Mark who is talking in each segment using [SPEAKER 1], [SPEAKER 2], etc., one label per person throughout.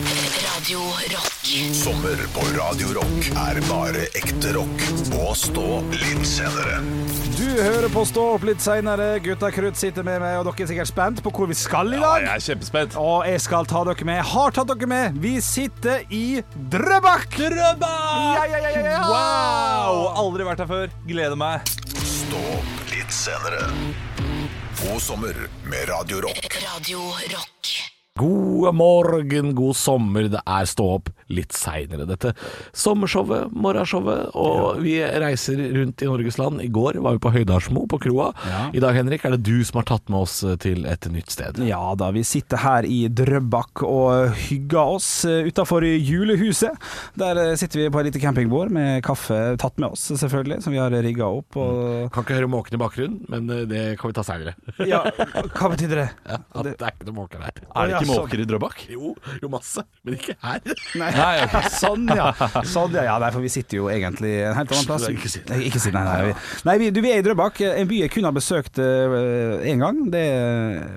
[SPEAKER 1] Radio Rock.
[SPEAKER 2] Sommer på Radio Rock er bare ekte rock. Og stå litt senere.
[SPEAKER 3] Du hører på Stå opp litt seinere. Gutta Krutt sitter med meg, og dere er sikkert spent på hvor vi skal i dag.
[SPEAKER 4] jeg er kjempespent.
[SPEAKER 3] Og jeg skal ta dere med. Jeg har tatt dere med. Vi sitter i Drøbak! Ja, ja, ja, ja, ja.
[SPEAKER 4] Wow! Aldri vært her før. Gleder meg.
[SPEAKER 2] Stå opp litt senere. God sommer med Radio Rock.
[SPEAKER 1] Radio Rock.
[SPEAKER 5] God morgen, god sommer. Det er Stå opp litt seinere, dette. Sommershowet, morgenshowet. Og vi reiser rundt i Norges land. I går var vi på Høydalsmo, på kroa. I dag, Henrik, er det du som har tatt med oss eh, til et nytt sted.
[SPEAKER 3] Ja da, vi sitter her i Drøbak og hygger oss eh, utafor julehuset. Der eh, sitter vi på et lite campingbord med kaffe tatt med oss, selvfølgelig, som vi har rigga opp.
[SPEAKER 4] Mm.
[SPEAKER 3] Og...
[SPEAKER 5] Kan ikke høre måken i bakgrunnen, men eh, det kan vi ta seinere.
[SPEAKER 3] Ja, hva betydde det?
[SPEAKER 4] Eh,
[SPEAKER 5] At det er ikke noen måker her.
[SPEAKER 4] Er det
[SPEAKER 3] Å, ja,
[SPEAKER 4] ikke måker i Drøbak?
[SPEAKER 5] Jo, jo masse, men ikke her.
[SPEAKER 3] Nei, sånn ja. Sånn ja, ja nei, for vi sitter jo egentlig en helt annen plass.
[SPEAKER 5] Nei, ikke si det.
[SPEAKER 3] Nei, ikke si det, nei, nei, vi, nei vi, du, vi er i Drøbak, en by jeg kun har besøkt én gang. Det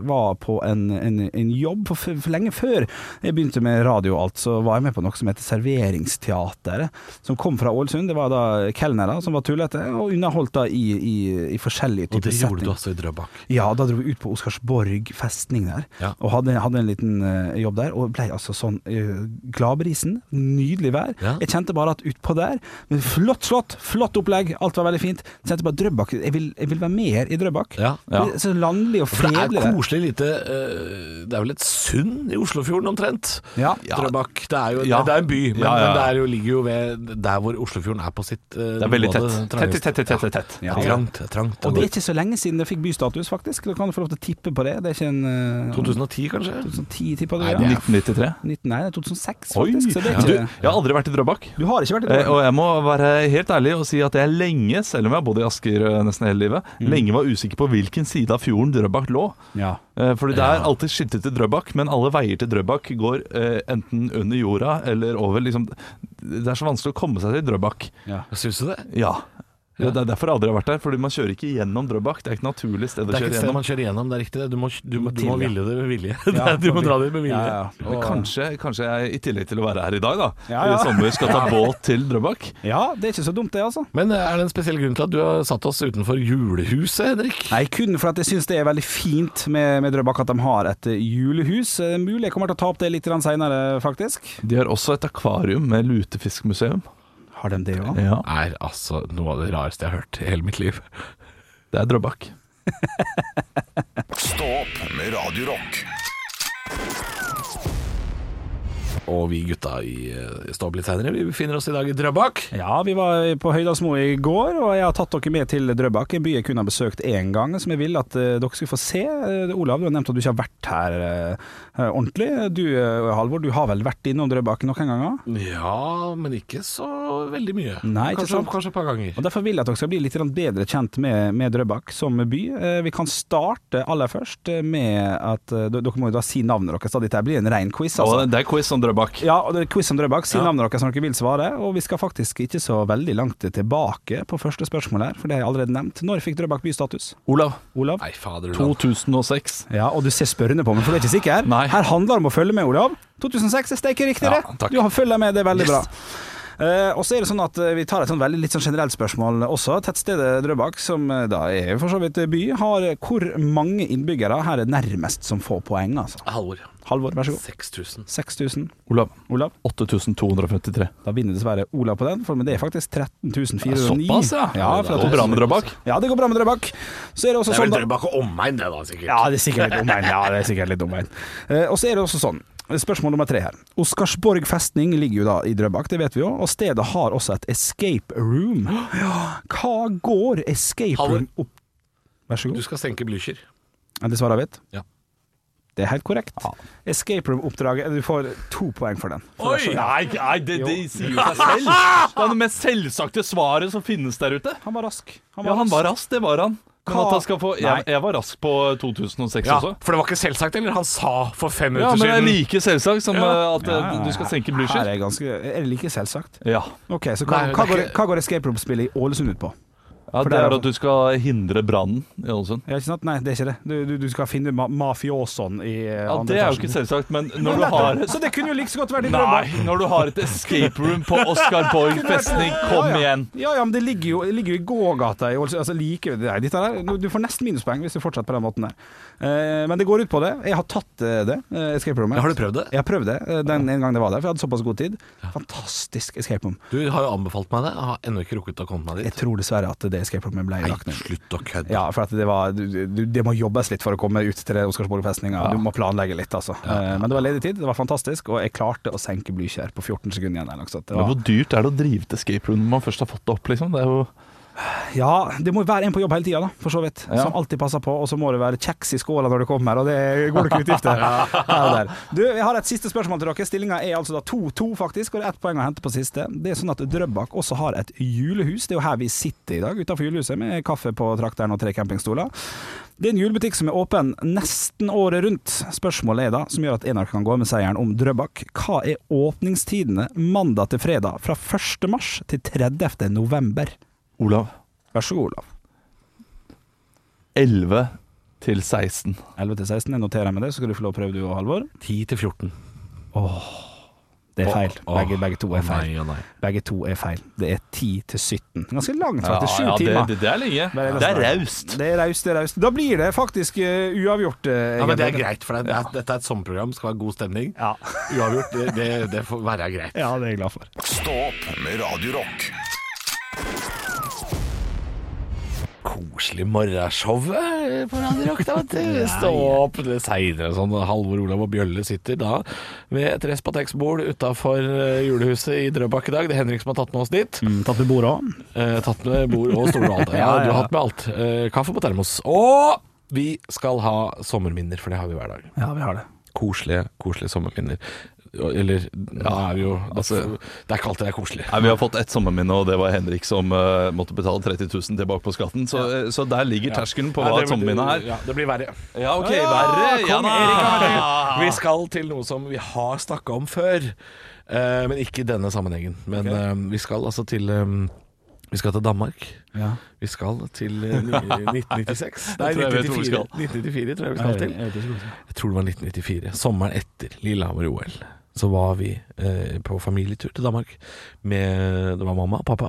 [SPEAKER 3] var på en, en, en jobb for, for lenge før jeg begynte med radio og alt, så var jeg med på noe som heter Serveringsteateret, som kom fra Ålesund. Det var da kelnere som var tullete, og underholdt da i, i, i forskjellige
[SPEAKER 5] Og
[SPEAKER 3] typer
[SPEAKER 5] det gjorde du
[SPEAKER 3] settinger.
[SPEAKER 5] altså i Drøbak.
[SPEAKER 3] Ja, da dro vi ut på Oscarsborg festning der,
[SPEAKER 5] Ja.
[SPEAKER 3] og hadde, hadde en liten eh, jobb der, og ble altså sånn eh, gladbrisen, nydelig vær.
[SPEAKER 5] Ja.
[SPEAKER 3] Jeg kjente bare at utpå der, men flott slott, flott opplegg, alt var veldig fint. Kjente bare Drøbak, jeg vil, jeg vil være mer i Drøbak.
[SPEAKER 5] Ja, ja.
[SPEAKER 3] Det er Så landlig og
[SPEAKER 5] For det
[SPEAKER 3] fredelig
[SPEAKER 5] er
[SPEAKER 3] der.
[SPEAKER 5] koselig lite eh, Det er vel et sund i Oslofjorden omtrent?
[SPEAKER 3] Ja.
[SPEAKER 5] Drøbak. Det er jo
[SPEAKER 4] Ja.
[SPEAKER 5] det er en by, men,
[SPEAKER 4] Ja, ja, ja.
[SPEAKER 5] men det er jo, ligger jo ved der hvor Oslofjorden er på sitt eh,
[SPEAKER 4] Det er veldig tett.
[SPEAKER 5] område,
[SPEAKER 4] Tett,
[SPEAKER 5] trangest.
[SPEAKER 4] tett, tett, tett, tett.
[SPEAKER 5] Ja. Det er Trangt. det er trangt.
[SPEAKER 3] Og det er ikke så lenge siden det fikk bystatus, faktisk. Du kan få lov til å tippe på det. Det er ikke en eh,
[SPEAKER 5] 2010, kanskje?
[SPEAKER 3] 2010 tippa du,
[SPEAKER 5] Nei,
[SPEAKER 3] ja.
[SPEAKER 5] det er-
[SPEAKER 4] 1993.
[SPEAKER 3] 19, nei, det er 2006,
[SPEAKER 4] Oi!
[SPEAKER 3] faktisk. Så det er
[SPEAKER 4] Du,
[SPEAKER 3] ikke
[SPEAKER 4] jeg har aldri vært i Drøbak.
[SPEAKER 3] Du har ikke vært i
[SPEAKER 4] Eh,
[SPEAKER 3] Drøbak?
[SPEAKER 4] Og jeg må være helt ærlig og si at jeg lenge, selv om jeg har bodd i Asker eh, nesten hele livet, lenge var usikker på hvilken side av fjorden Drøbak lå.
[SPEAKER 3] Ja.
[SPEAKER 4] Eh, Fordi det er
[SPEAKER 5] Ja.
[SPEAKER 4] alltid skiltet til Drøbak, men alle veier til Drøbak går eh, enten under jorda eller over. Liksom, det er så vanskelig å komme seg til Drøbak.
[SPEAKER 5] Syns du det?
[SPEAKER 4] Ja. Det det er derfor jeg aldri har vært der, fordi man kjører ikke gjennom Drøbak. Det er ikke et naturlig sted
[SPEAKER 5] Det
[SPEAKER 4] å
[SPEAKER 5] er ikke
[SPEAKER 4] kjøre
[SPEAKER 5] et sted
[SPEAKER 4] gjennom.
[SPEAKER 5] man kjører gjennom, det er riktig det. Du må, du, må- du
[SPEAKER 3] til,
[SPEAKER 5] må
[SPEAKER 3] ja.
[SPEAKER 5] ville det med vilje.
[SPEAKER 3] Ja,
[SPEAKER 5] du må
[SPEAKER 3] ok.
[SPEAKER 5] dra dit med vilje.
[SPEAKER 3] Ja, ja.
[SPEAKER 4] Men
[SPEAKER 3] Og-
[SPEAKER 4] kanskje, kanskje jeg, i tillegg til å være her i dag, da,
[SPEAKER 3] Ja, ja.
[SPEAKER 4] i sommer skal ta båt til Drøbak.
[SPEAKER 3] ja, det er ikke så dumt det, altså.
[SPEAKER 5] Men eh, er det en spesiell grunn til at du har satt oss utenfor julehuset, Henrik?
[SPEAKER 3] Nei, kun for at jeg syns det er veldig fint med, med Drøbak at de har et eh, julehus. Eh, Mulig jeg kommer til å ta opp det litt seinere, faktisk.
[SPEAKER 4] De har også et akvarium med lutefiskmuseum.
[SPEAKER 3] Har de det òg?
[SPEAKER 4] Ja.
[SPEAKER 5] Er altså noe av det rareste jeg har hørt i hele mitt liv.
[SPEAKER 4] Det er Drøbak.
[SPEAKER 2] Stå opp med Radio Rock.
[SPEAKER 5] Og vi gutta i eh, Stå opp litt seinere, vi befinner oss i dag i Drøbak.
[SPEAKER 3] Ja, vi var på Høydalsmo i går, og jeg har tatt dere med til Drøbak. En by jeg kun har besøkt én gang, som jeg vil at eh, dere skal få se. Eh, Olav, du har nevnt at du ikke har vært her eh, ordentlig. Du eh, Halvor, du har vel vært innom Drøbak noen ganger?
[SPEAKER 5] Ja, men ikke så veldig mye.
[SPEAKER 3] Nei, ikke
[SPEAKER 5] kanskje,
[SPEAKER 3] sant.
[SPEAKER 5] kanskje et par ganger.
[SPEAKER 3] Og Derfor vil jeg at dere skal bli litt grann bedre kjent med, med Drøbak som by. Eh, Vi kan starte aller først eh, med at eh, Dere må jo da si navnet deres, da dette her blir en rein quiz. Altså.
[SPEAKER 4] Og det er quiz om Drøbak.
[SPEAKER 3] Ja, og det er quiz om Drøbak. Si navnet deres når dere vil svare. Og vi skal faktisk ikke så veldig langt tilbake på første spørsmål her, for det har jeg allerede nevnt. Når fikk Drøbak bystatus?
[SPEAKER 4] Olav.
[SPEAKER 3] Olav?
[SPEAKER 5] Nei, fader. Olav.
[SPEAKER 4] 2006.
[SPEAKER 3] Ja, og du ser spørrende på meg, for du er ikke sikker.
[SPEAKER 4] Nei.
[SPEAKER 3] Her handler det om å følge med, Olav. 2006 er steiker riktig, det.
[SPEAKER 4] Ja, takk.
[SPEAKER 3] du har følger med, det er veldig
[SPEAKER 5] Yes.
[SPEAKER 3] bra. Eh, og så er det sånn at eh, Vi tar et sånn veldig litt sånn generelt spørsmål også. Tettstedet Drøbak, som eh, da er for så vidt by, har eh, hvor mange innbyggere her er nærmest som får poeng? altså?
[SPEAKER 5] Halvor.
[SPEAKER 3] Halvor, vær så god.
[SPEAKER 5] 6000.
[SPEAKER 3] 6000.
[SPEAKER 4] Olav.
[SPEAKER 3] Olav?
[SPEAKER 4] 8253.
[SPEAKER 3] Da vinner dessverre Ola på den, for men det er faktisk 13.409.
[SPEAKER 4] Såpass, ja.
[SPEAKER 3] Ja, for at
[SPEAKER 4] det går bra med Drøbak.
[SPEAKER 3] ja, det går bra med Drøbak. Så er det også
[SPEAKER 5] Det er
[SPEAKER 3] sånn
[SPEAKER 5] vel
[SPEAKER 3] da-
[SPEAKER 5] Drøbak og omegn, det da, sikkert.
[SPEAKER 3] Ja, det er sikkert litt omveien. Ja, det er sikkert litt omveien. Eh, og så er det også sånn, spørsmål nummer tre her. Oscarsborg festning ligger jo da i Drøbak, det vet vi jo, og stedet har også et escape room. Ja, hva går escape
[SPEAKER 5] Halvor.
[SPEAKER 3] room opp Vær så
[SPEAKER 5] Du
[SPEAKER 3] god.
[SPEAKER 5] skal senke Blücher.
[SPEAKER 3] Er det svaret mitt?
[SPEAKER 5] Ja.
[SPEAKER 3] Det er helt korrekt. Escape room-oppdraget Du får to poeng for den. For det er så- ja.
[SPEAKER 4] Nei, nei det, det sier jo seg selv. Det er det mest selvsagte svaret som finnes der ute.
[SPEAKER 3] Han var rask. Han
[SPEAKER 4] Ja, han var rask, det var han. Men
[SPEAKER 3] Hva-
[SPEAKER 4] at han skal få,
[SPEAKER 3] Nei.
[SPEAKER 4] jeg, jeg var rask på 2006
[SPEAKER 5] Ja,
[SPEAKER 4] også.
[SPEAKER 5] for det var ikke selvsagt, eller? Han sa for fem
[SPEAKER 4] Ja,
[SPEAKER 5] minutter
[SPEAKER 4] men det er
[SPEAKER 5] siden.
[SPEAKER 4] like selvsagt som eh, at eh,
[SPEAKER 3] Ja, ja, ja.
[SPEAKER 4] du skal senke
[SPEAKER 3] Her
[SPEAKER 4] Blücher.
[SPEAKER 3] er, ganske, er det like selvsagt?
[SPEAKER 4] Ja.
[SPEAKER 3] Ok, så hva,
[SPEAKER 5] Nei, det er
[SPEAKER 3] hva, går,
[SPEAKER 5] ikke-
[SPEAKER 3] hva går escape room-spillet i Ålesund ut på?
[SPEAKER 4] Ja,
[SPEAKER 3] For
[SPEAKER 4] det
[SPEAKER 3] der-
[SPEAKER 4] er at du skal hindre brannen i Ålesund.
[SPEAKER 3] Ja, ikke sant? Nei, det er ikke det. Du, du, du skal finne ma mafiosoen i eh,
[SPEAKER 4] Ja,
[SPEAKER 3] andre
[SPEAKER 4] det er jo
[SPEAKER 3] etasjen.
[SPEAKER 4] ikke selvsagt, men når du har
[SPEAKER 3] Så det kunne jo like så godt vært i Drøbak.
[SPEAKER 4] Nei, når du har et escape room på Oscar Borg festning,
[SPEAKER 3] ja,
[SPEAKER 4] kom
[SPEAKER 3] ja.
[SPEAKER 4] igjen!
[SPEAKER 3] Ja, ja, men det ligger jo, det ligger jo i gågata i Ålesund. Altså, like ved deg. Dette der, du- du får nesten minuspoeng hvis du fortsetter på den måten der. Eh, men det går ut på det. Jeg har tatt eh, det. eh, escape roomet.
[SPEAKER 5] Ja, har du prøvd det?
[SPEAKER 3] Jeg har prøvd det eh, den en gang det var der, for jeg hadde såpass god tid. Fantastisk escape room.
[SPEAKER 5] Du har jo anbefalt meg det. Jeg har ennå ikke rukket å komme meg
[SPEAKER 3] Jeg
[SPEAKER 5] dit.
[SPEAKER 3] tror dessverre at det escape roomet ble lagt ned.
[SPEAKER 5] slutt å kødde.
[SPEAKER 3] Ja, for at det, var, du, du, det må jobbes litt for å komme ut til det Oscarsborg-festninga. Du må planlegge litt, altså. Eh, Men det var ledig tid, det var fantastisk, og jeg klarte å senke Blykjer på 14 sekunder igjen. Eller noe sånt. Det
[SPEAKER 4] Men
[SPEAKER 3] var,
[SPEAKER 4] hvor dyrt er det å drive et escape room når man først har fått det opp, liksom? Det er jo
[SPEAKER 3] ja, det må jo være en på jobb hele tida, da, for så vidt.
[SPEAKER 4] Ja.
[SPEAKER 3] Som alltid passer på, og så må det være kjeks i skåla når du kommer, og det går det ikke utgifter. Her og der. Du, jeg har et siste spørsmål til dere. Stillinga er altså da 2-2, faktisk, og det er ett poeng å hente på siste. Det er sånn at Drøbak også har et julehus. Det er jo her vi sitter i dag, utafor julehuset, med kaffe på trakteren og tre campingstoler. Det er en julebutikk som er åpen nesten året rundt. Spørsmålet er da, som gjør at Enark kan gå med seieren om Drøbak, hva er åpningstidene mandag til fredag fra 1. mars til 30. november?
[SPEAKER 4] Olav.
[SPEAKER 3] Vær så god, Olav.
[SPEAKER 4] 11 til 16.
[SPEAKER 3] 11 til 16, jeg noterer meg det, så skal du få lov å prøve du og Halvor.
[SPEAKER 5] 10 til 14.
[SPEAKER 3] Det er feil.
[SPEAKER 5] Åh,
[SPEAKER 3] Begge, begge to er feil.
[SPEAKER 5] Nei, ja, nei.
[SPEAKER 3] Begge to er feil. Det er 10 til 17. Ganske langt,
[SPEAKER 4] Ja,
[SPEAKER 3] faktisk. Sju
[SPEAKER 4] ja, det,
[SPEAKER 3] timer.
[SPEAKER 4] det, det er lenge.
[SPEAKER 3] er
[SPEAKER 4] Det er
[SPEAKER 3] nesten-
[SPEAKER 4] raust.
[SPEAKER 3] Det er raust, det er raust. Da blir det faktisk eh, uavgjort. eh,
[SPEAKER 5] Ja, men det er
[SPEAKER 3] egentlig.
[SPEAKER 5] greit for deg. Det er- Dette er et sommerprogram, skal være god stemning.
[SPEAKER 3] Ja.
[SPEAKER 5] Uavgjort, det, det, det får være greit.
[SPEAKER 3] ja, det er jeg glad for.
[SPEAKER 2] Stå opp med Radio Rock.
[SPEAKER 5] Koselig morgenshowet på Radio Rock, da, vet du. Stå opp litt seinere og sånn. Halvor Olav og Bjølle sitter da ved et Respatex-bord utafor eh, julehuset i Drøbak i dag. Det er Henrik som har tatt med oss dit.
[SPEAKER 3] Mm, tatt med bordet òg.
[SPEAKER 5] Eh, tatt med bord og stol og alt. Ja,
[SPEAKER 3] Ja, ja, ja.
[SPEAKER 5] du har hatt med alt. Eh, kaffe på termos. Og vi skal ha sommerminner, for det har vi hver dag.
[SPEAKER 3] Ja, vi har det.
[SPEAKER 5] Koselige, koselige sommerminner. Eller da er vi jo
[SPEAKER 4] altså-
[SPEAKER 5] Det er ikke alltid det er koselig.
[SPEAKER 4] Nei, Vi har fått ett sommerminne, og det var Henrik som eh, måtte betale 30 000 tilbake på skatten. Så, eh, så der ligger terskelen på hva et sommerminne er.
[SPEAKER 5] Ja, det blir verre.
[SPEAKER 4] Ja, ok, verre. Ja,
[SPEAKER 5] Kong
[SPEAKER 4] da.
[SPEAKER 5] Erik har vært her. Vi skal til noe som vi har snakka om før, eh, men ikke i denne sammenhengen. Men eh, vi skal altså til eh, Vi skal til Danmark.
[SPEAKER 3] Ja.
[SPEAKER 5] Vi skal til eh, ni- 1996. Nei,
[SPEAKER 4] tror jeg vet hvor vi
[SPEAKER 5] 1994, 1994 tror jeg vi skal til. Jeg tror det var 1994. Sommeren etter Lillehammer-OL. Så var vi eh, på familietur til Danmark med Det var mamma og pappa.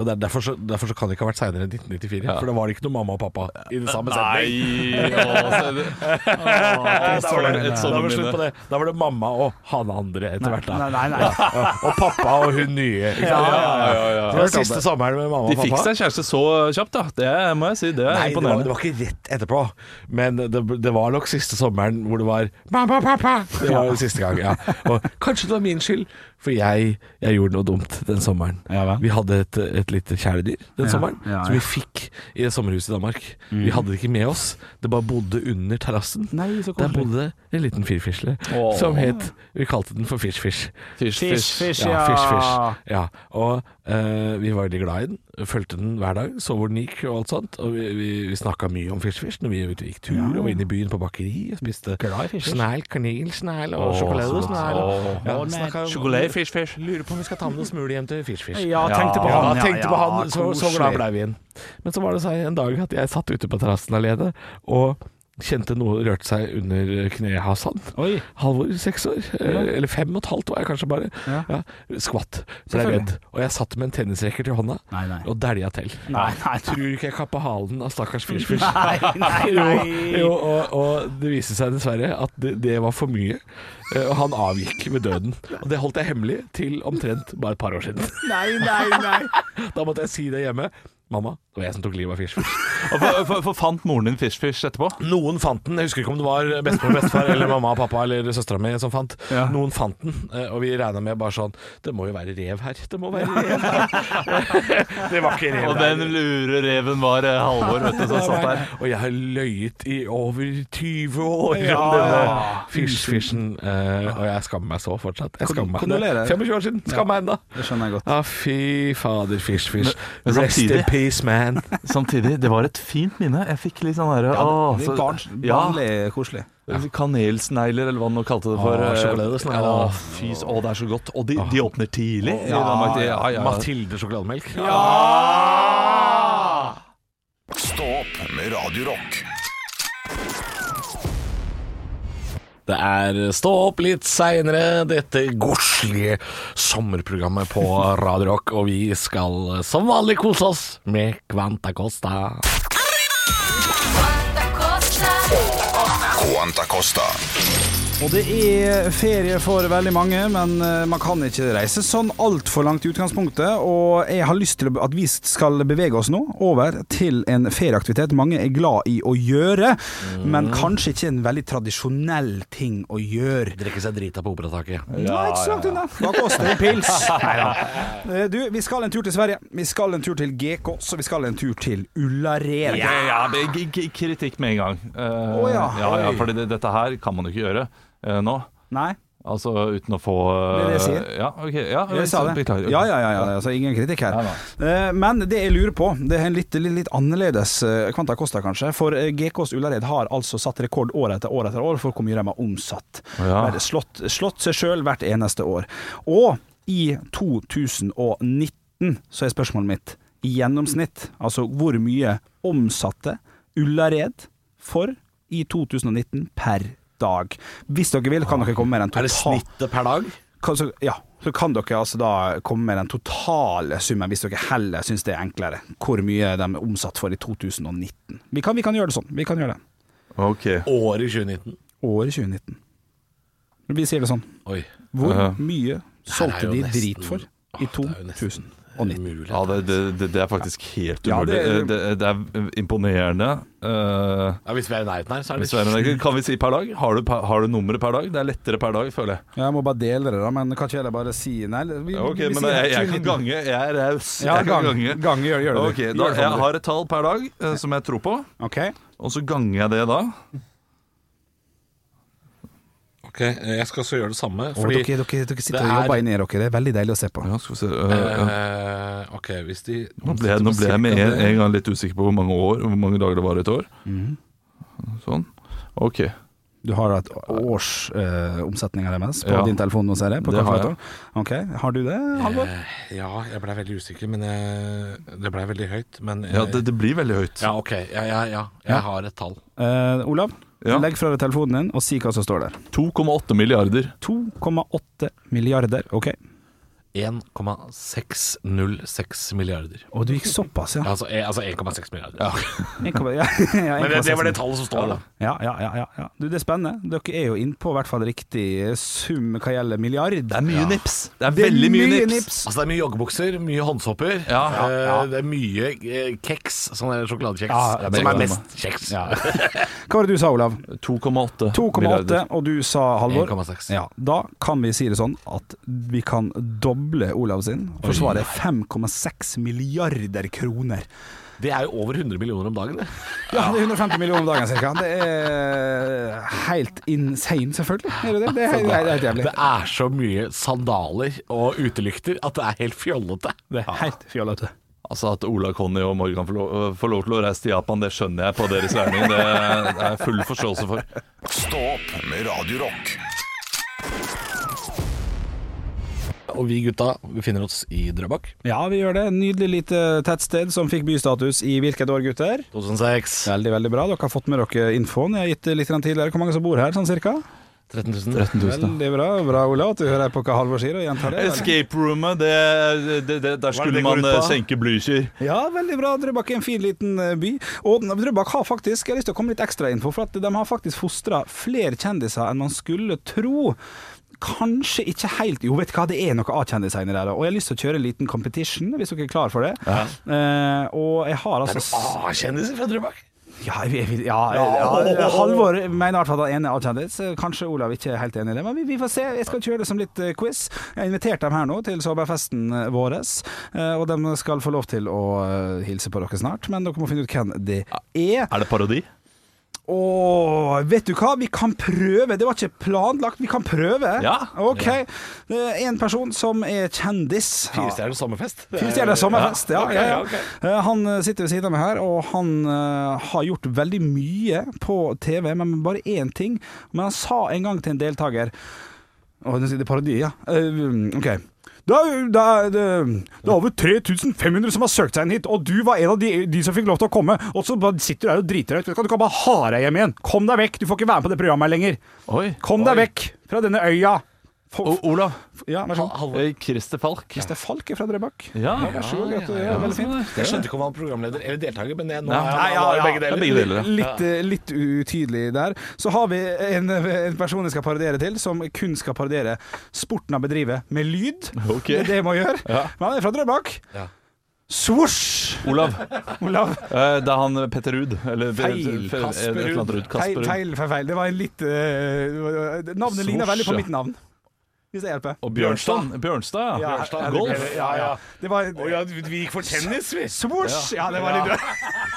[SPEAKER 5] Og der, derfor, så, derfor så kan det ikke ha vært seinere enn 1994. For da var det ikke noe mamma og pappa i den samme setning.
[SPEAKER 4] Nei å, se det.
[SPEAKER 5] Da var det-
[SPEAKER 4] Et
[SPEAKER 5] da var det slutt på det. Da var det mamma og han andre etter hvert.
[SPEAKER 3] Nei,
[SPEAKER 5] da
[SPEAKER 3] nei, nei.
[SPEAKER 5] Ja, Og pappa og hun nye. Ikke sant? Så Det var siste sommeren med mamma og
[SPEAKER 4] De
[SPEAKER 5] pappa.
[SPEAKER 4] fikk seg kjæreste så kjapt, da. Det må jeg si. Det er
[SPEAKER 5] Nei, det var, det
[SPEAKER 4] imponerende.
[SPEAKER 5] var ikke rett etterpå, men det, det var nok siste sommeren hvor det var 'mamma, pappa'. Det var siste gang, ja. Og kanskje det var min skyld, for jeg, jeg gjorde noe dumt den sommeren.
[SPEAKER 3] Ja vel.
[SPEAKER 5] vi hadde et, et lite kjæledyr
[SPEAKER 3] Ja,
[SPEAKER 5] den sommeren,
[SPEAKER 3] ja, ja.
[SPEAKER 5] som vi fikk i det sommerhuset i Danmark. Vi hadde det ikke med oss, det bare bodde under terrassen.
[SPEAKER 3] Nei, så
[SPEAKER 5] Der
[SPEAKER 3] koselig.
[SPEAKER 5] bodde det en liten firfisle
[SPEAKER 4] Åh.
[SPEAKER 5] som het Vi kalte den for Fish Fish.
[SPEAKER 4] Fish,
[SPEAKER 3] Fish, fish,
[SPEAKER 5] Ja,
[SPEAKER 3] ja.
[SPEAKER 5] fish, fish. Ja, og eh, vi var veldig glad i den. Fulgte den hver dag, så hvor den gikk og alt sånt. Og vi, vi, vi snakka mye om fish, fish når vi var ute og gikk tur og var inne i byen på bakeri og spiste
[SPEAKER 3] Glad i fish, fish.
[SPEAKER 5] snegl, kanel, snegl og sjokolade. Snegl, og, ja, snakket om-
[SPEAKER 4] fish, fish.
[SPEAKER 5] Lurer på om vi skal ta med noe smule hjem til fish, fish.
[SPEAKER 3] Ja, tenkte på
[SPEAKER 5] Ja,
[SPEAKER 3] han.
[SPEAKER 5] tenkte på han, så, så
[SPEAKER 3] koselig.
[SPEAKER 5] glad blei vi igjen. Men så var det seg en dag at jeg satt ute på terrassen alene og kjente noe rørte seg under kneet hans.
[SPEAKER 3] Oi.
[SPEAKER 5] Halvor, seks år, eh, eller fem og et halvt var jeg kanskje bare.
[SPEAKER 3] Ja.
[SPEAKER 5] Ja. Skvatt, ble
[SPEAKER 3] Selvfølgelig.
[SPEAKER 5] redd. Og jeg satt med en tennisrekker til hånda
[SPEAKER 3] Nei, nei.
[SPEAKER 5] og dælja til.
[SPEAKER 3] Nei, nei, nei.
[SPEAKER 5] Tror ikke jeg kappa halen av stakkars Fish-Fish.
[SPEAKER 3] Nei, nei, nei.
[SPEAKER 5] Jo, jo og, og det viste seg dessverre at det, det var for mye. eh, Og han avgikk med døden. Og det holdt jeg hemmelig til omtrent bare et par år siden.
[SPEAKER 3] Nei, nei, nei.
[SPEAKER 5] Da måtte jeg si det hjemme. Mamma, det var jeg som tok livet av Fish-Fish.
[SPEAKER 4] Og for, for, for fant moren din fish, fish etterpå?
[SPEAKER 5] Noen fant den. Jeg husker ikke om det var bestemor, bestefar eller mamma og pappa eller søstera mi som fant.
[SPEAKER 3] Ja.
[SPEAKER 5] Noen fant den, eh, og vi regna med bare sånn Det må jo være rev her. Det må være rev her. det var ikke rev
[SPEAKER 4] Og
[SPEAKER 5] der.
[SPEAKER 4] den lure reven var eh, Halvor, vet du, som satt der.
[SPEAKER 5] Og jeg har løyet i over 20 år
[SPEAKER 3] Ja,
[SPEAKER 5] om
[SPEAKER 3] ja.
[SPEAKER 5] denne fish-fishen, eh, og jeg skammer meg så fortsatt. Jeg skammer meg.
[SPEAKER 3] kondolerer.
[SPEAKER 5] 25 år siden. Skammer meg ennå.
[SPEAKER 3] Det skjønner jeg godt.
[SPEAKER 5] Ja, fy fader, fish-fish.
[SPEAKER 4] men
[SPEAKER 5] Rest in
[SPEAKER 4] samtidig-
[SPEAKER 5] peace, man.
[SPEAKER 4] Samtidig, det var et fint minne. Jeg fikk litt sånn derre å,
[SPEAKER 3] Det
[SPEAKER 4] så-
[SPEAKER 3] er barns,
[SPEAKER 4] ja,
[SPEAKER 3] barnlig koselig.
[SPEAKER 4] Kanelsnegler, eller hva de nå kalte det for.
[SPEAKER 5] Å,
[SPEAKER 4] eh,
[SPEAKER 5] sjokoladesnegler.
[SPEAKER 4] Å, fy, s- å, det er så godt. Og de, de åpner tidlig. i Danmark, de- ja, ja, ja.
[SPEAKER 5] Mathilde sjokolademelk.
[SPEAKER 4] Ja!
[SPEAKER 2] Radio Rock.
[SPEAKER 5] Det er Stå opp litt seinere, dette godslige sommerprogrammet på Radio Rock. Og vi skal som vanlig kose oss med Kvanta Costa.
[SPEAKER 2] Quanta Costa.
[SPEAKER 3] Og det er ferie for veldig mange, men eh, man kan ikke reise sånn altfor langt i utgangspunktet. Og jeg har lyst til å- at vi skal bevege oss nå over til en ferieaktivitet mange er glad i å gjøre,
[SPEAKER 4] Mm.
[SPEAKER 3] men kanskje ikke en veldig tradisjonell ting å gjøre.
[SPEAKER 5] Drikke seg drita på operataket.
[SPEAKER 3] Nei, ikke så langt unna. Bak oss det er pils. Neida. Eh, Du, vi skal en tur til Sverige. Vi skal en tur til GK, så vi skal en tur til Ullared.
[SPEAKER 4] Ja, ja, men g- g- kritikk med en gang. Eh,
[SPEAKER 3] Å, ja.
[SPEAKER 4] ja,
[SPEAKER 3] Oi.
[SPEAKER 4] for det, dette her kan man jo ikke gjøre eh, nå.
[SPEAKER 3] Nei,
[SPEAKER 4] Altså uten å få eh,
[SPEAKER 3] Det er det jeg sier.
[SPEAKER 4] Ja, ok. Ja,
[SPEAKER 3] jeg sa det. Ja,
[SPEAKER 4] Beklager.
[SPEAKER 3] ja, ja. ja altså, ingen kritikk her.
[SPEAKER 4] Nei,
[SPEAKER 3] Eh, Men det jeg lurer på, det er en litt, litt, litt annerledes eh, Kvanta Costa, kanskje. For eh, GKs Ullared har altså satt rekord år etter år etter år for hvor mye de har omsatt.
[SPEAKER 4] Ja.
[SPEAKER 3] Bare Slått, slått seg sjøl hvert eneste år. Og i 2019 så er spørsmålet mitt i gjennomsnitt, altså hvor mye omsatte Ullared for i 2019 per dag. Hvis dere vil, kan dere komme med en
[SPEAKER 5] Er det
[SPEAKER 3] total-
[SPEAKER 5] snittet per dag?
[SPEAKER 3] kan, så, ja, så kan dere altså da komme med den totale summen, hvis dere heller syns det er enklere. Hvor mye de er omsatt for i 2019. Vi kan, vi kan gjøre det sånn. Vi kan gjøre det.
[SPEAKER 4] Ok.
[SPEAKER 5] Året 2019.
[SPEAKER 3] Året 2019. Vi sier det sånn.
[SPEAKER 5] Oi.
[SPEAKER 3] Hvor
[SPEAKER 4] Ja.
[SPEAKER 3] mye
[SPEAKER 5] Her er
[SPEAKER 3] solgte
[SPEAKER 5] jo
[SPEAKER 3] de
[SPEAKER 5] nesten-
[SPEAKER 3] drit for i
[SPEAKER 5] Åh, det er jo nesten
[SPEAKER 3] 2019?
[SPEAKER 5] Mulig.
[SPEAKER 4] Ja, det, det, det- det er faktisk helt
[SPEAKER 3] Ja,
[SPEAKER 4] umulig.
[SPEAKER 3] det-
[SPEAKER 4] Eh, det, det er imponerende. Eh,
[SPEAKER 5] Ja, hvis vi er i nærheten her, så er det
[SPEAKER 4] Dessverre, men kan vi si per dag? Har du, pa- har du nummeret per dag? Det er lettere per dag, føler jeg.
[SPEAKER 3] Jeg må bare dele det, da, men kan ikke jeg bare si Nei, vi,
[SPEAKER 4] Ok,
[SPEAKER 3] vi
[SPEAKER 4] men
[SPEAKER 3] sier
[SPEAKER 4] jeg, jeg kan
[SPEAKER 3] 2019.
[SPEAKER 4] gange. Jeg er raus.
[SPEAKER 3] Ja,
[SPEAKER 4] Jeg
[SPEAKER 3] gang-
[SPEAKER 4] kan
[SPEAKER 3] gange, gjør- gjør det. Gjør
[SPEAKER 4] Ok, da,
[SPEAKER 3] det for meg.
[SPEAKER 4] Jeg har et tall per dag eh, som jeg tror på,
[SPEAKER 3] Ok.
[SPEAKER 4] og så ganger jeg det da.
[SPEAKER 5] Ok, eh, jeg skal også gjøre det samme.
[SPEAKER 3] Og dere, dere, dere sitter og
[SPEAKER 5] det er-
[SPEAKER 3] jobber inni dere. Det er veldig deilig å se eh, på.
[SPEAKER 4] Ja, skal vi se
[SPEAKER 5] Eh, ok, hvis de
[SPEAKER 4] Eh, Nå ble, jeg- nå ble jeg med en, en gang litt usikker på hvor mange år Hvor mange dager det var i et år.
[SPEAKER 3] Mm.
[SPEAKER 4] Sånn. Ok.
[SPEAKER 3] Du har et års eh, omsetning av MS på
[SPEAKER 4] Ja.
[SPEAKER 3] din telefon nå, ser jeg. På
[SPEAKER 4] Det har
[SPEAKER 3] kalkulatoren.
[SPEAKER 4] jeg.
[SPEAKER 3] Ok, Har du det, Halvor?
[SPEAKER 5] Ja, jeg blei veldig usikker, men jeg, det blei veldig høyt. Men
[SPEAKER 4] Ja, det, det blir veldig høyt.
[SPEAKER 5] ja, ok. Ja, ja, ja. Jeg har et tall.
[SPEAKER 3] Eh, Olav,
[SPEAKER 4] Ja.
[SPEAKER 3] legg fra deg telefonen din og si hva som står der.
[SPEAKER 4] 2,8 milliarder.
[SPEAKER 3] 2,8 milliarder, ok.
[SPEAKER 5] 1,606 milliarder.
[SPEAKER 3] Og du gikk såpass, ja.
[SPEAKER 5] Altså, eh, altså 1,6 milliarder.
[SPEAKER 3] En komma- ja, ja, en
[SPEAKER 5] Men det,
[SPEAKER 3] komma
[SPEAKER 5] det var
[SPEAKER 3] seks.
[SPEAKER 5] det tallet som står, da.
[SPEAKER 3] Ja, ja, ja, ja, ja. Du, det er spennende. Dere er jo innpå i hvert fall riktig sum hva gjelder milliard.
[SPEAKER 4] Det er mye nips. Det er
[SPEAKER 3] Det er
[SPEAKER 4] veldig mye, nips.
[SPEAKER 5] Altså Det er mye joggebukser, mye håndsopper.
[SPEAKER 4] Ja, ja,
[SPEAKER 5] eh,
[SPEAKER 4] ja.
[SPEAKER 5] Det er mye eh, kjeks, sånn der sjokoladekjeks.
[SPEAKER 3] Ja, det er
[SPEAKER 5] som
[SPEAKER 3] veldig
[SPEAKER 5] er
[SPEAKER 4] godt.
[SPEAKER 5] mest kjeks.
[SPEAKER 3] Ja. Hva var det du sa, Olav?
[SPEAKER 4] 2,8
[SPEAKER 3] 2,8,
[SPEAKER 4] milliarder.
[SPEAKER 3] og du sa Halvor.
[SPEAKER 5] 1,6.
[SPEAKER 3] Ja, da kan vi si det sånn at vi kan doble Olav sin. Forsvaret er 5,6 milliarder kroner.
[SPEAKER 5] Det er jo over 100 millioner om dagen, det.
[SPEAKER 3] Ja, det er 150 millioner om dagen cirka. Det er helt insane, selvfølgelig. Er det det? Det er helt, det er helt jævlig.
[SPEAKER 5] Det er så mye sandaler og utelykter at det er helt fjollete.
[SPEAKER 3] Det er helt fjollete.
[SPEAKER 4] Altså At Ola Conny og Morgan får lov, får lov til å reise til Japan, det skjønner jeg på deres regning. Det er jeg full forståelse for.
[SPEAKER 2] Stå opp med Radio Rock.
[SPEAKER 5] Og vi gutta befinner oss i Drøbak.
[SPEAKER 3] Ja, vi gjør det. Nydelig lite tettsted som fikk bystatus i hvilket år, gutter?
[SPEAKER 5] 2006.
[SPEAKER 3] Veldig, veldig bra. Dere har fått med dere infoen. Jeg har gitt det litt grann tidligere. Hvor mange som bor her, sånn cirka?
[SPEAKER 5] 13 000.
[SPEAKER 3] Veldig bra. Bra, Olav, at du hører på hva Halvor sier og gjentar det.
[SPEAKER 4] Escape roomet, det, det, det, der skulle
[SPEAKER 5] det går
[SPEAKER 4] man
[SPEAKER 5] ut på?
[SPEAKER 4] eh, senke Blücher.
[SPEAKER 3] Ja, veldig bra. Drøbak er en fin liten eh, by. Og Drøbak har faktisk Jeg har lyst til å komme litt ekstra info, for at de har faktisk fostra flere kjendiser enn man skulle tro. Kanskje ikke helt Jo, vet du hva, det er noe av kjendiser inni der. Og jeg har lyst til å kjøre en liten competition, hvis dere er klar for det. Eh, og jeg har altså
[SPEAKER 5] A-kjendiser fra Drøbak.
[SPEAKER 3] ja, jeg, vil- ja, ja, Halvor mener i hvert fall at han ene er A-kjendis. Kanskje Olav ikke er helt enig i det, men vi, vi får se. Jeg skal kjøre det som litt eh, quiz. Jeg har invitert dem her nå til sommerfesten vår, eh, og de skal få lov til å eh, hilse på dere snart. Men dere må finne ut hvem det er.
[SPEAKER 4] Er det parodi?
[SPEAKER 3] Åh, vet du hva? Vi kan prøve. Det var ikke planlagt. Vi kan prøve.
[SPEAKER 4] Ja.
[SPEAKER 3] OK. Det er en person som er kjendis. Ja.
[SPEAKER 5] Firestjerners sommerfest.
[SPEAKER 3] Fire stjerner sommerfest, ja.
[SPEAKER 5] Ok,
[SPEAKER 3] ja, ja.
[SPEAKER 5] ok.
[SPEAKER 3] Eh, Han eh, sitter ved siden av meg her, og han eh, har gjort veldig mye på TV, men bare én ting. Men han sa en gang til en deltaker Å, det er parodi, ja. Eh, ok. Det er, det er, det det er over 3500 som har søkt seg inn hit, og du var en av de, de som fikk lov til å komme. Og så bare sitter du der og driter deg ut. Vet Du hva, du kan bare ha deg hjem igjen. Kom deg vekk. Du får ikke være med på det programmet her lenger.
[SPEAKER 4] Oi.
[SPEAKER 3] Kom deg vekk fra denne øya. Få-
[SPEAKER 4] O Olav.
[SPEAKER 3] ja, vær så god.
[SPEAKER 4] Eh, Christer Falk.
[SPEAKER 3] Hvis det er Falk fra Drøbak.
[SPEAKER 4] Ja.
[SPEAKER 3] Vær så god, gratulerer. Veldig fint.
[SPEAKER 5] Jeg skjønte ikke om han var programleder eller deltaker, men jeg, nå
[SPEAKER 4] Ja.
[SPEAKER 5] er han-
[SPEAKER 4] Nei,
[SPEAKER 5] han var
[SPEAKER 4] ja,
[SPEAKER 5] jo
[SPEAKER 4] ja.
[SPEAKER 5] begge deler.
[SPEAKER 4] Det er begge deler, ja.
[SPEAKER 3] Litt, eh, litt utydelig der. Så har vi en, eh, en person jeg skal parodiere til, som kun skal parodiere sporten han bedriver, med lyd.
[SPEAKER 4] Ok.
[SPEAKER 3] Det er det jeg må gjøre.
[SPEAKER 4] Ja.
[SPEAKER 3] Men han er fra Drøbak.
[SPEAKER 5] Ja.
[SPEAKER 3] Svosj!
[SPEAKER 4] Olav.
[SPEAKER 3] Olav.
[SPEAKER 4] Eh, Det er han Petter Ruud. Eller
[SPEAKER 3] Feil.
[SPEAKER 4] Fe-
[SPEAKER 5] Kasper
[SPEAKER 4] et eller annet
[SPEAKER 5] Ruud.
[SPEAKER 3] Feil,
[SPEAKER 4] Ruud. Kasper Ruud.
[SPEAKER 3] feil, feil, feil. Det var en litt eh, det var- Navnet ligner veldig på
[SPEAKER 4] Svosj, ja.
[SPEAKER 3] mitt navn, hvis det hjelper.
[SPEAKER 4] Og Bjørnstad. Bjørnstad, ja.
[SPEAKER 3] Ja,
[SPEAKER 4] Golf.
[SPEAKER 3] Ja, ja. Det var
[SPEAKER 5] Å ja, vi vi gikk for tennis, vi.
[SPEAKER 3] Svosj! Ja, det var litt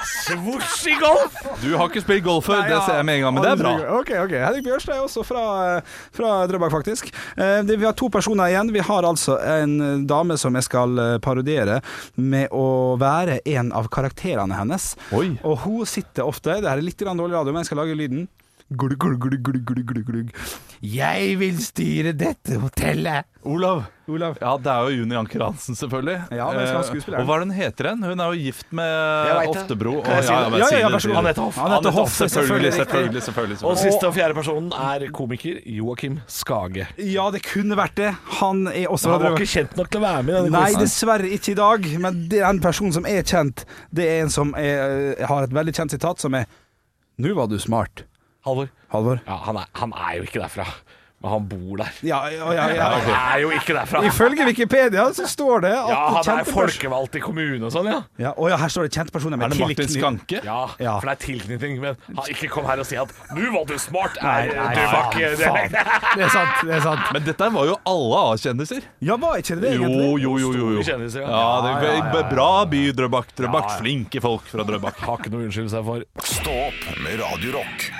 [SPEAKER 5] Svosj i golf!
[SPEAKER 4] Du har ikke spilt golf før,
[SPEAKER 3] Nei,
[SPEAKER 4] det
[SPEAKER 3] ja.
[SPEAKER 4] ser jeg med en gang, men det er bra.
[SPEAKER 3] Ok, ok. Henrik Bjørstad er også fra, eh, fra Drøbak, faktisk. Eh, det, vi har to personer igjen. Vi har altså en eh, dame som jeg skal eh, parodiere med å være en av karakterene hennes.
[SPEAKER 4] Oi.
[SPEAKER 3] Og hun sitter ofte Det her er litt grann dårlig radio, men jeg skal lage lyden. Glugg, glugg, glugg, glugg, glugg, glugg, glugg. Jeg vil styre dette hotellet.
[SPEAKER 4] Olav.
[SPEAKER 3] Olav.
[SPEAKER 4] Ja, det er jo Juni Anker Hansen, selvfølgelig.
[SPEAKER 3] Ja, men skal han skuespille,
[SPEAKER 4] Eh, og hva er det hun heter igjen? Hun er jo gift
[SPEAKER 5] Jeg
[SPEAKER 4] med
[SPEAKER 5] vet det.
[SPEAKER 4] Oftebro.
[SPEAKER 5] Kan jeg
[SPEAKER 4] og-
[SPEAKER 5] si det?
[SPEAKER 4] bare
[SPEAKER 3] Ja, ja, ja,
[SPEAKER 4] si det,
[SPEAKER 3] vær så
[SPEAKER 4] si
[SPEAKER 3] god.
[SPEAKER 4] det.
[SPEAKER 5] Anette Hoff.
[SPEAKER 3] Anette Hoff,
[SPEAKER 4] Selvfølgelig,
[SPEAKER 3] selvfølgelig,
[SPEAKER 4] selvfølgelig. selvfølgelig,
[SPEAKER 5] Og
[SPEAKER 4] selvfølgelig.
[SPEAKER 5] siste og fjerde personen er komiker Joakim Skage.
[SPEAKER 3] Ja, det kunne vært det. Han er også fra
[SPEAKER 5] Han var
[SPEAKER 3] Drøbak.
[SPEAKER 5] ikke kjent nok til å være med i denne
[SPEAKER 3] Nei,
[SPEAKER 5] quizen.
[SPEAKER 3] dessverre ikke i dag, men det er en person som er kjent. Det er en som er, har et veldig kjent sitat, som er Nå var du smart,
[SPEAKER 5] Halvor.
[SPEAKER 3] Halvor.
[SPEAKER 5] Ja, han er, han er jo ikke derfra, men han bor der.
[SPEAKER 3] Ja, ja, ja, ja.
[SPEAKER 5] Han er jo ikke derfra.
[SPEAKER 3] Ifølge Wikipedia så står det at
[SPEAKER 5] Ja, han er
[SPEAKER 3] kjente pers-
[SPEAKER 5] folkevalgt i kommune og sånn, ja.
[SPEAKER 3] Ja, å ja, her står det kjente personer
[SPEAKER 4] Er
[SPEAKER 3] med
[SPEAKER 4] det Martin
[SPEAKER 3] tilknytning.
[SPEAKER 4] Skanke?
[SPEAKER 5] Ja,
[SPEAKER 3] Ja.
[SPEAKER 5] for det er tilknytning, men han, ikke kom her og si at 'nå var du smart', er
[SPEAKER 3] Nei, nei,
[SPEAKER 5] du var
[SPEAKER 3] faen,
[SPEAKER 5] ikke det.
[SPEAKER 3] Det er sant. det er sant
[SPEAKER 4] Men dette var jo alle A-kjendiser.
[SPEAKER 3] Ja, var ikke det det
[SPEAKER 4] Jo,
[SPEAKER 3] egentlig?
[SPEAKER 4] jo, jo. jo, jo.
[SPEAKER 5] Store kjendiser, ja.
[SPEAKER 4] Ja, det er Bra by, Drøbak. Drøbak,
[SPEAKER 5] Ja, ja.
[SPEAKER 4] flinke folk fra Drøbak.
[SPEAKER 5] Har ikke noe å unnskylde seg for.
[SPEAKER 2] Stå opp med Radio Rock.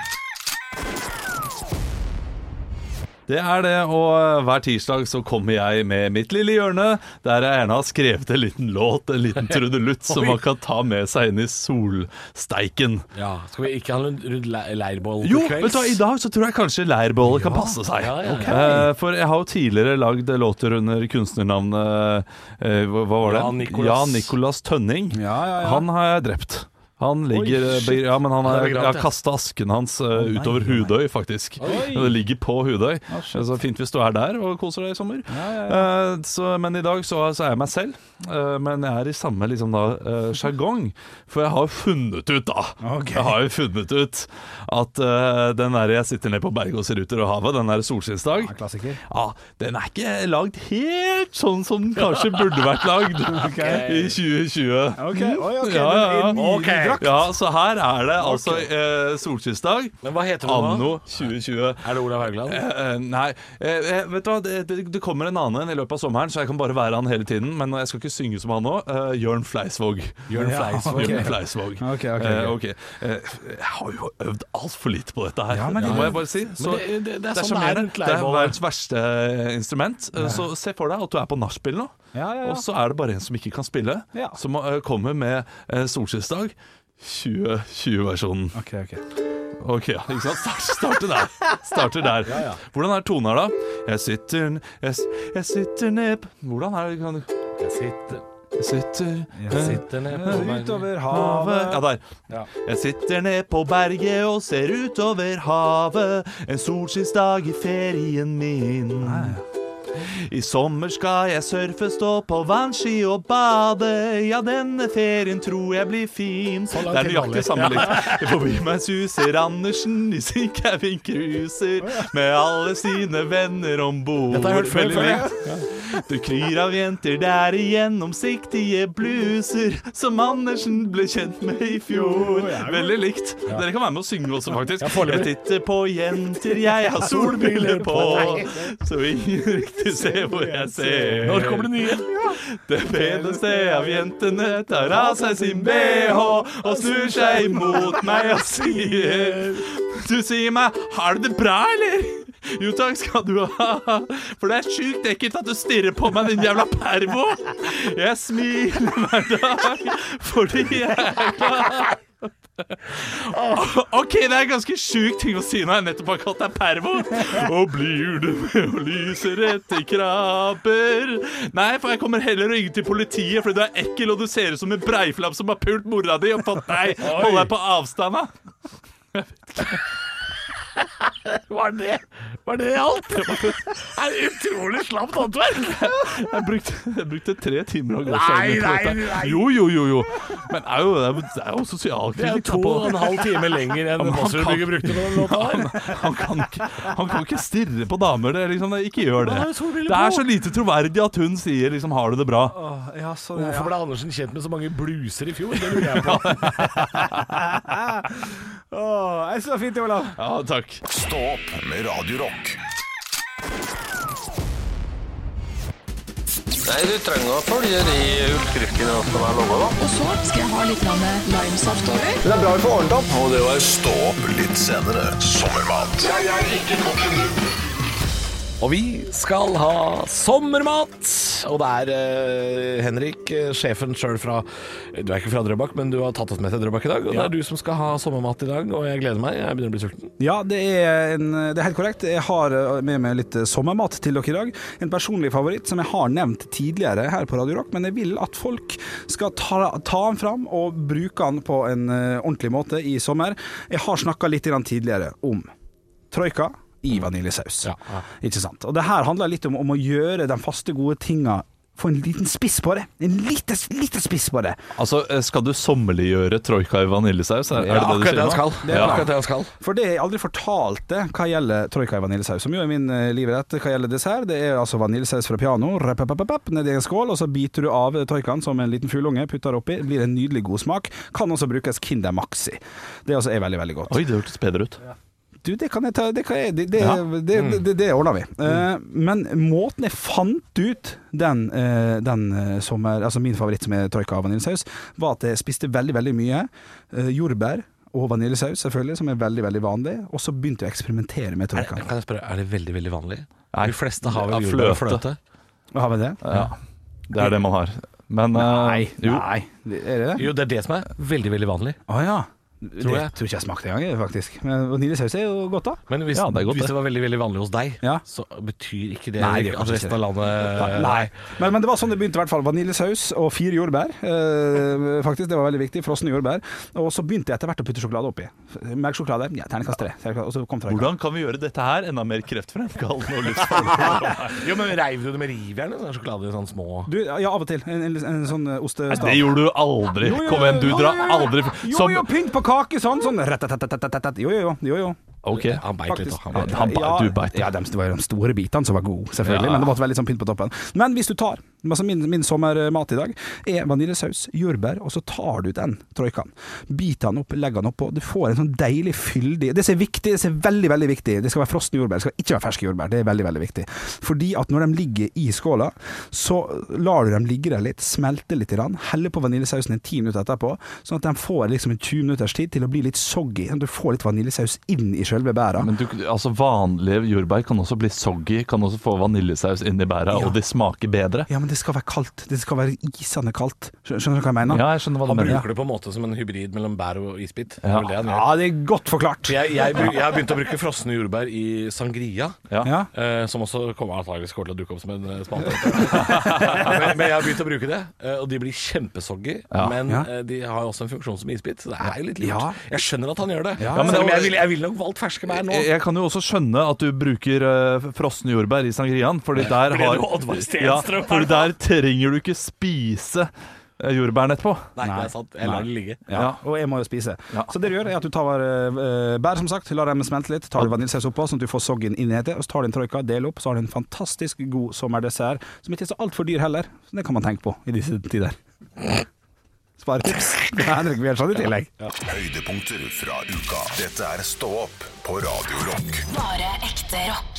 [SPEAKER 4] Det er det, og eh, hver tirsdag så kommer jeg med mitt lille hjørne, der jeg gjerne har skrevet en liten låt, en liten trudelutt, som man kan ta med seg inn i solsteiken.
[SPEAKER 5] Ja, Skal vi ikke ha en rundt le- leirbål
[SPEAKER 4] Jo, vet du hva, i dag så tror jeg kanskje leirbålet kan passe seg.
[SPEAKER 5] ja, ja, ja.
[SPEAKER 4] Eh, for jeg har jo tidligere lagd låter under kunstnernavnet eh, Hva hva var det?
[SPEAKER 5] Jan Nicolas.
[SPEAKER 4] Jan Nicolas Tønning.
[SPEAKER 3] Ja, ja, ja.
[SPEAKER 4] Han har jeg drept. Han ligger
[SPEAKER 5] Oi,
[SPEAKER 4] be- Ja, men han
[SPEAKER 5] Han er
[SPEAKER 4] er,
[SPEAKER 5] begravd,
[SPEAKER 4] jeg har
[SPEAKER 5] ja.
[SPEAKER 4] kasta asken hans eh, utover Hudøy, faktisk. Det ligger på Hudøy.
[SPEAKER 3] Ah,
[SPEAKER 4] så fint hvis du er der og koser deg i sommer. Eh, så, men i dag så, så er jeg meg selv. Eh, men jeg er i samme liksom da eh, sjargong. For jeg har funnet ut, da.
[SPEAKER 3] Ok.
[SPEAKER 4] Jeg har jo funnet ut at eh, den der jeg sitter nede på berget og ser ut over havet, den der solskinnsdag
[SPEAKER 3] Ja, klassiker.
[SPEAKER 4] ja, den er ikke lagd helt sånn som den kanskje burde vært lagd i 2020.
[SPEAKER 3] Ok, oi, ok,
[SPEAKER 4] Ja, ja, ja.
[SPEAKER 3] en ny
[SPEAKER 5] Ok.
[SPEAKER 3] drakt.
[SPEAKER 4] Ja, så her er det altså eh, solskinnsdag
[SPEAKER 5] Men hva heter du nå?
[SPEAKER 4] anno 2020.
[SPEAKER 5] Er det Olav Haugland?
[SPEAKER 4] Eh, eh, nei, eh, eh, vet du hva, det, det, det kommer en annen i løpet av sommeren, så jeg kan bare være han hele tiden. Men jeg skal ikke synge som han nå. Eh, Jørn Fleisvåg.
[SPEAKER 5] Jørn Fleisvåg.
[SPEAKER 4] Jørn Fleisvåg.
[SPEAKER 3] Ok, ok, ok.
[SPEAKER 4] Eh, ok. Eh, jeg har jo øvd altfor lite på dette her,
[SPEAKER 3] Ja, men
[SPEAKER 4] det
[SPEAKER 3] det-
[SPEAKER 4] må jeg bare si. Så
[SPEAKER 5] det- det- det er sånn det er
[SPEAKER 4] sjarmerende.
[SPEAKER 5] rundt
[SPEAKER 4] Det er
[SPEAKER 5] leirbålet.
[SPEAKER 4] verdens verste eh, instrument. Eh, Så se for deg at du er på nachspiel nå,
[SPEAKER 3] Ja, ja, ja.
[SPEAKER 4] og så er det bare en som ikke kan spille,
[SPEAKER 3] Ja.
[SPEAKER 4] som eh, kommer med eh, solskinnsdag. 2020-versjonen.
[SPEAKER 3] Ok, ok.
[SPEAKER 4] Ok, ja, ikke sant? Start, starter der. Starter der. Hvordan er tonen her, da? Jeg sitter n- Jeg, s- jeg sitter ned p- Hvordan er det kan,
[SPEAKER 5] Jeg sitter,
[SPEAKER 4] Jeg sitter
[SPEAKER 5] jeg sitter ned på meg.
[SPEAKER 3] Utover
[SPEAKER 4] Havet. Ja,
[SPEAKER 3] havet
[SPEAKER 4] der. Jeg sitter ned på berget og ser utover havet. En solskinnsdag i ferien min. I sommer skal jeg surfe, stå på vannski og bade. Ja, denne ferien tror jeg blir fin. Det
[SPEAKER 5] langt
[SPEAKER 4] er
[SPEAKER 5] til vanlig.
[SPEAKER 4] nøyaktig samme likt. Forbi meg suser Andersen i sin cabincruiser med alle sine venner om bord.
[SPEAKER 5] Dette har jeg hørt før, føler jeg.
[SPEAKER 4] Du kryr av jenter der i gjennomsiktige bluser, som Andersen ble kjent med i fjor. Veldig likt. Dere kan være med å synge også, faktisk. Jeg titter på jenter, jeg har solbriller på, så ingen riktig ser hvor jeg ser.
[SPEAKER 5] Når kommer det nye?
[SPEAKER 4] Det peneste av jentene tar av seg sin bh og snur seg mot meg og sier Du sier meg, har du det bra, eller? Jo takk skal du ha, for det er sjukt ekkelt at du stirrer på meg, din jævla pervo. Jeg smiler hver dag fordi jeg er glad. OK, det er ganske sjukt ting å si når jeg nettopp har kalt deg pervo. Og blir du med og lyser etter krabber? Nei, for jeg kommer heller å ringe til politiet fordi du er ekkel og du ser ut som en breiflabb som har pult mora di og fått deg Hold deg på avstand, da.
[SPEAKER 5] Var det, var det alt? Det er utrolig slapt håndverk.
[SPEAKER 4] Jeg brukte, jeg brukte tre timer
[SPEAKER 5] Nei,
[SPEAKER 4] og gårsdagen på
[SPEAKER 5] nei,
[SPEAKER 4] dette.
[SPEAKER 5] nei.
[SPEAKER 4] Jo, jo, jo, jo. Men det er jo, det er jo- det er jo
[SPEAKER 5] Det er
[SPEAKER 4] sosialkritikk.
[SPEAKER 5] jo to og en halv time lenger enn Fossrud-bygget brukte på den låta
[SPEAKER 4] Han,
[SPEAKER 5] der.
[SPEAKER 4] han, kan ikke, han kan ikke stirre på damer. Det, er liksom, det, ikke gjør det.
[SPEAKER 5] Han har jo solbriller
[SPEAKER 4] Det
[SPEAKER 5] på.
[SPEAKER 4] er så lite troverdig at hun sier liksom, 'har du det bra'.
[SPEAKER 3] Ja, sånn, ja.
[SPEAKER 5] Hvorfor ble Andersen kjent med så mange bluser i fjor? Det lurer jeg på.
[SPEAKER 3] Åh, jeg synes det var fint, Olav.
[SPEAKER 4] Ja, takk.
[SPEAKER 2] Stå opp med Radio Rock.
[SPEAKER 6] Nei, du trenger å følge de utskriftene som er lova, da.
[SPEAKER 1] Og så skal jeg ha litt grann limesaft over.
[SPEAKER 6] Det er bra vi får ordnet opp. Og det var
[SPEAKER 2] Stå opp litt senere. Sommermat.
[SPEAKER 5] Og vi skal ha sommermat! Og det er eh, Henrik, eh, sjefen sjøl fra Du er ikke fra Drøbak, men du har tatt oss med til Drøbak i dag. Og det er du som skal ha sommermat i dag, og jeg gleder meg. Jeg begynner å bli sulten.
[SPEAKER 3] Ja, det er, en, det er helt korrekt. Jeg har eh, med meg litt eh, sommermat til dere i dag. En personlig favoritt som jeg har nevnt tidligere her på Radio Rock, men jeg vil at folk skal ta, ta den fram og bruke den på en eh, ordentlig måte i sommer. Jeg har snakka litt grann tidligere om troika i vaniljesaus.
[SPEAKER 5] Ja.
[SPEAKER 3] Ikke sant? Og det her handler litt om, om å gjøre de faste, gode tinga Få en liten spiss på det. En lite, lite spiss på det.
[SPEAKER 4] Altså, eh, Skal du sommerliggjøre troika i vaniljesaus? Er, er det det du sier
[SPEAKER 5] akkurat det
[SPEAKER 4] nå?
[SPEAKER 5] han skal. Det er
[SPEAKER 4] Ja.
[SPEAKER 5] akkurat det han skal.
[SPEAKER 3] For det jeg aldri fortalte hva gjelder troika i vaniljesaus, som jo er min eh, livrett hva gjelder dessert, det er altså vaniljesaus fra piano, rapapapap, ned i en skål, og så biter du av troikaen som en liten fugleunge, putter oppi, blir en nydelig god smak. Kan også brukes Kinder Maxi. Det også er veldig, veldig godt.
[SPEAKER 4] Oi, det hørtes bedre ut.
[SPEAKER 3] Du, det kan jeg ta, det kan jeg, det, det,
[SPEAKER 4] Ja.
[SPEAKER 3] det, det, det, det ordner vi. Eh, men måten jeg fant ut den, eh, den eh, som er, altså min favoritt som er troika av vaniljesaus, var at jeg spiste veldig, veldig mye eh, jordbær og vaniljesaus selvfølgelig, som er veldig, veldig vanlig, og så begynte jeg å eksperimentere med
[SPEAKER 5] Er,
[SPEAKER 3] troika.
[SPEAKER 5] kan jeg spørre, er det veldig, veldig vanlig?
[SPEAKER 4] Nei.
[SPEAKER 5] De fleste har
[SPEAKER 4] Ja,
[SPEAKER 5] vel jordbær og
[SPEAKER 4] fløte.
[SPEAKER 5] fløte.
[SPEAKER 3] Har vi det?
[SPEAKER 4] Ja, Det er det man har. Men eh, jo.
[SPEAKER 3] Nei. Er det det?
[SPEAKER 5] Jo, det er det som er veldig, veldig vanlig.
[SPEAKER 3] Å ja. Det tror
[SPEAKER 5] jeg.
[SPEAKER 3] jeg ikke jeg smakte engang, jeg, faktisk. Men vaniljesaus er jo godt, da.
[SPEAKER 5] Men hvis,
[SPEAKER 4] Ja, det
[SPEAKER 5] det,
[SPEAKER 4] er godt,
[SPEAKER 5] hvis
[SPEAKER 4] det.
[SPEAKER 5] det var veldig, veldig vanlig hos deg,
[SPEAKER 3] Ja.
[SPEAKER 5] så betyr ikke det,
[SPEAKER 3] Nei, det gjør
[SPEAKER 5] at
[SPEAKER 3] kanskje
[SPEAKER 5] resten av
[SPEAKER 3] ikke
[SPEAKER 4] Eh,
[SPEAKER 5] landet
[SPEAKER 3] Nei. Men, men det var sånn det begynte i hvert fall. Vaniljesaus og fire jordbær. Eh, faktisk, det var veldig viktig. Frosne jordbær. Og så begynte jeg etter hvert å putte sjokolade oppi. Merk sjokolade. Ja, terningkast tre. Terningkast- Og så kom tre.
[SPEAKER 4] Hvordan kan vi gjøre dette her enda mer kreftfremkallende og livsfarlig?
[SPEAKER 5] Jo, men reiv du det med rivjern? Sånn sjokolade i sånn små
[SPEAKER 3] Du, ja, av og til. En, en, en sånn eh, ostestav.
[SPEAKER 4] Det gjorde du aldri.
[SPEAKER 3] Jo, jo, jo,
[SPEAKER 4] Kom igjen, du
[SPEAKER 3] jo,
[SPEAKER 4] drar
[SPEAKER 3] jo, jo.
[SPEAKER 4] aldri
[SPEAKER 3] Jo,
[SPEAKER 4] Som
[SPEAKER 3] jo, pynt på kake sånn. sånn. Ratatatatatatat. Jo, jo, jo. jo, jo.
[SPEAKER 4] OK.
[SPEAKER 5] Han beit litt, da. Han beit.
[SPEAKER 4] Ja, han beit, du beit.
[SPEAKER 3] Ja, dem- det var jo de store bitene som var gode, selvfølgelig. Men det måtte være litt sånn pynt på toppen. Men hvis du tar altså min, min sommermat i dag er vaniljesaus, jordbær, og så tar du den troikaen. Biter den opp, legger den oppå. Du får en sånn deilig, fyldig Det som er viktig, det som er veldig, veldig viktig, det skal være frosne jordbær. Det skal ikke være ferske jordbær. Det er veldig, veldig viktig. Fordi at når de ligger i skåla, så lar du dem ligge der litt, smelte litt, grann, heller på vaniljesausen en ti minutter etterpå, sånn at de får liksom en 20 minutters tid til å bli litt soggy. Sånn at du får litt vaniljesaus inn i sjølve bæra.
[SPEAKER 4] Men du, altså vanlige jordbær kan også bli soggy, kan også få vaniljesaus inni bæra,
[SPEAKER 3] Ja.
[SPEAKER 4] og de smaker bedre.
[SPEAKER 3] Ja, men det skal være kaldt. Det skal være isende kaldt. Skjø- Skjønner du hva jeg mener?
[SPEAKER 4] Ja, jeg skjønner hva du
[SPEAKER 5] Han
[SPEAKER 4] mener.
[SPEAKER 5] bruker det på en måte som en hybrid mellom bær og isbit. Det
[SPEAKER 4] Ja.
[SPEAKER 5] er vel det han gjør.
[SPEAKER 3] Ja, det er godt forklart.
[SPEAKER 5] Jeg, jeg, bru- jeg har begynt å bruke frosne jordbær i sangria.
[SPEAKER 4] Ja.
[SPEAKER 3] Ja.
[SPEAKER 5] eh, som også kommer antakeligvis kommer til å dukke opp som en eh, spalte. men, men jeg har begynt å bruke det, eh, og de blir kjempesoggy.
[SPEAKER 4] Ja.
[SPEAKER 5] Men
[SPEAKER 3] Ja.
[SPEAKER 5] eh, de har også en funksjon som isbit, så det er jo litt lurt.
[SPEAKER 3] Ja.
[SPEAKER 5] Jeg skjønner at han gjør det.
[SPEAKER 3] Ja,
[SPEAKER 5] men
[SPEAKER 4] men det
[SPEAKER 5] Selv om
[SPEAKER 4] var-
[SPEAKER 5] jeg ville jeg vil nok valgt ferske bær nå.
[SPEAKER 4] Jeg jeg kan jo også skjønne at du bruker eh, frosne jordbær i sangriaen, fordi der
[SPEAKER 5] Ble
[SPEAKER 4] har
[SPEAKER 5] du Oddvar
[SPEAKER 4] ja,
[SPEAKER 5] Stenstrøm her
[SPEAKER 4] Fordi
[SPEAKER 5] nå?
[SPEAKER 4] der trenger du ikke spise eh, jordbærene etterpå.
[SPEAKER 5] Nei, det er sant. Jeg lar det ligge.
[SPEAKER 3] Ja. og jeg må jo spise.
[SPEAKER 4] Ja.
[SPEAKER 3] Så det du gjør, er at du tar eh, bær, som sagt, lar dem smelte litt, tar du vaniljesaus oppå, sånn at du får soggen inn i det, og så tar du en troika, del opp, så har du en fantastisk god sommerdessert, som ikke er så altfor dyr heller. Så det kan man tenke på i disse tider. Sparetips. Det er Henrik Bjørnson i tillegg.
[SPEAKER 2] Høydepunkter fra uka. Dette er Stå opp på Radio Rock.
[SPEAKER 1] Bare ekte rock.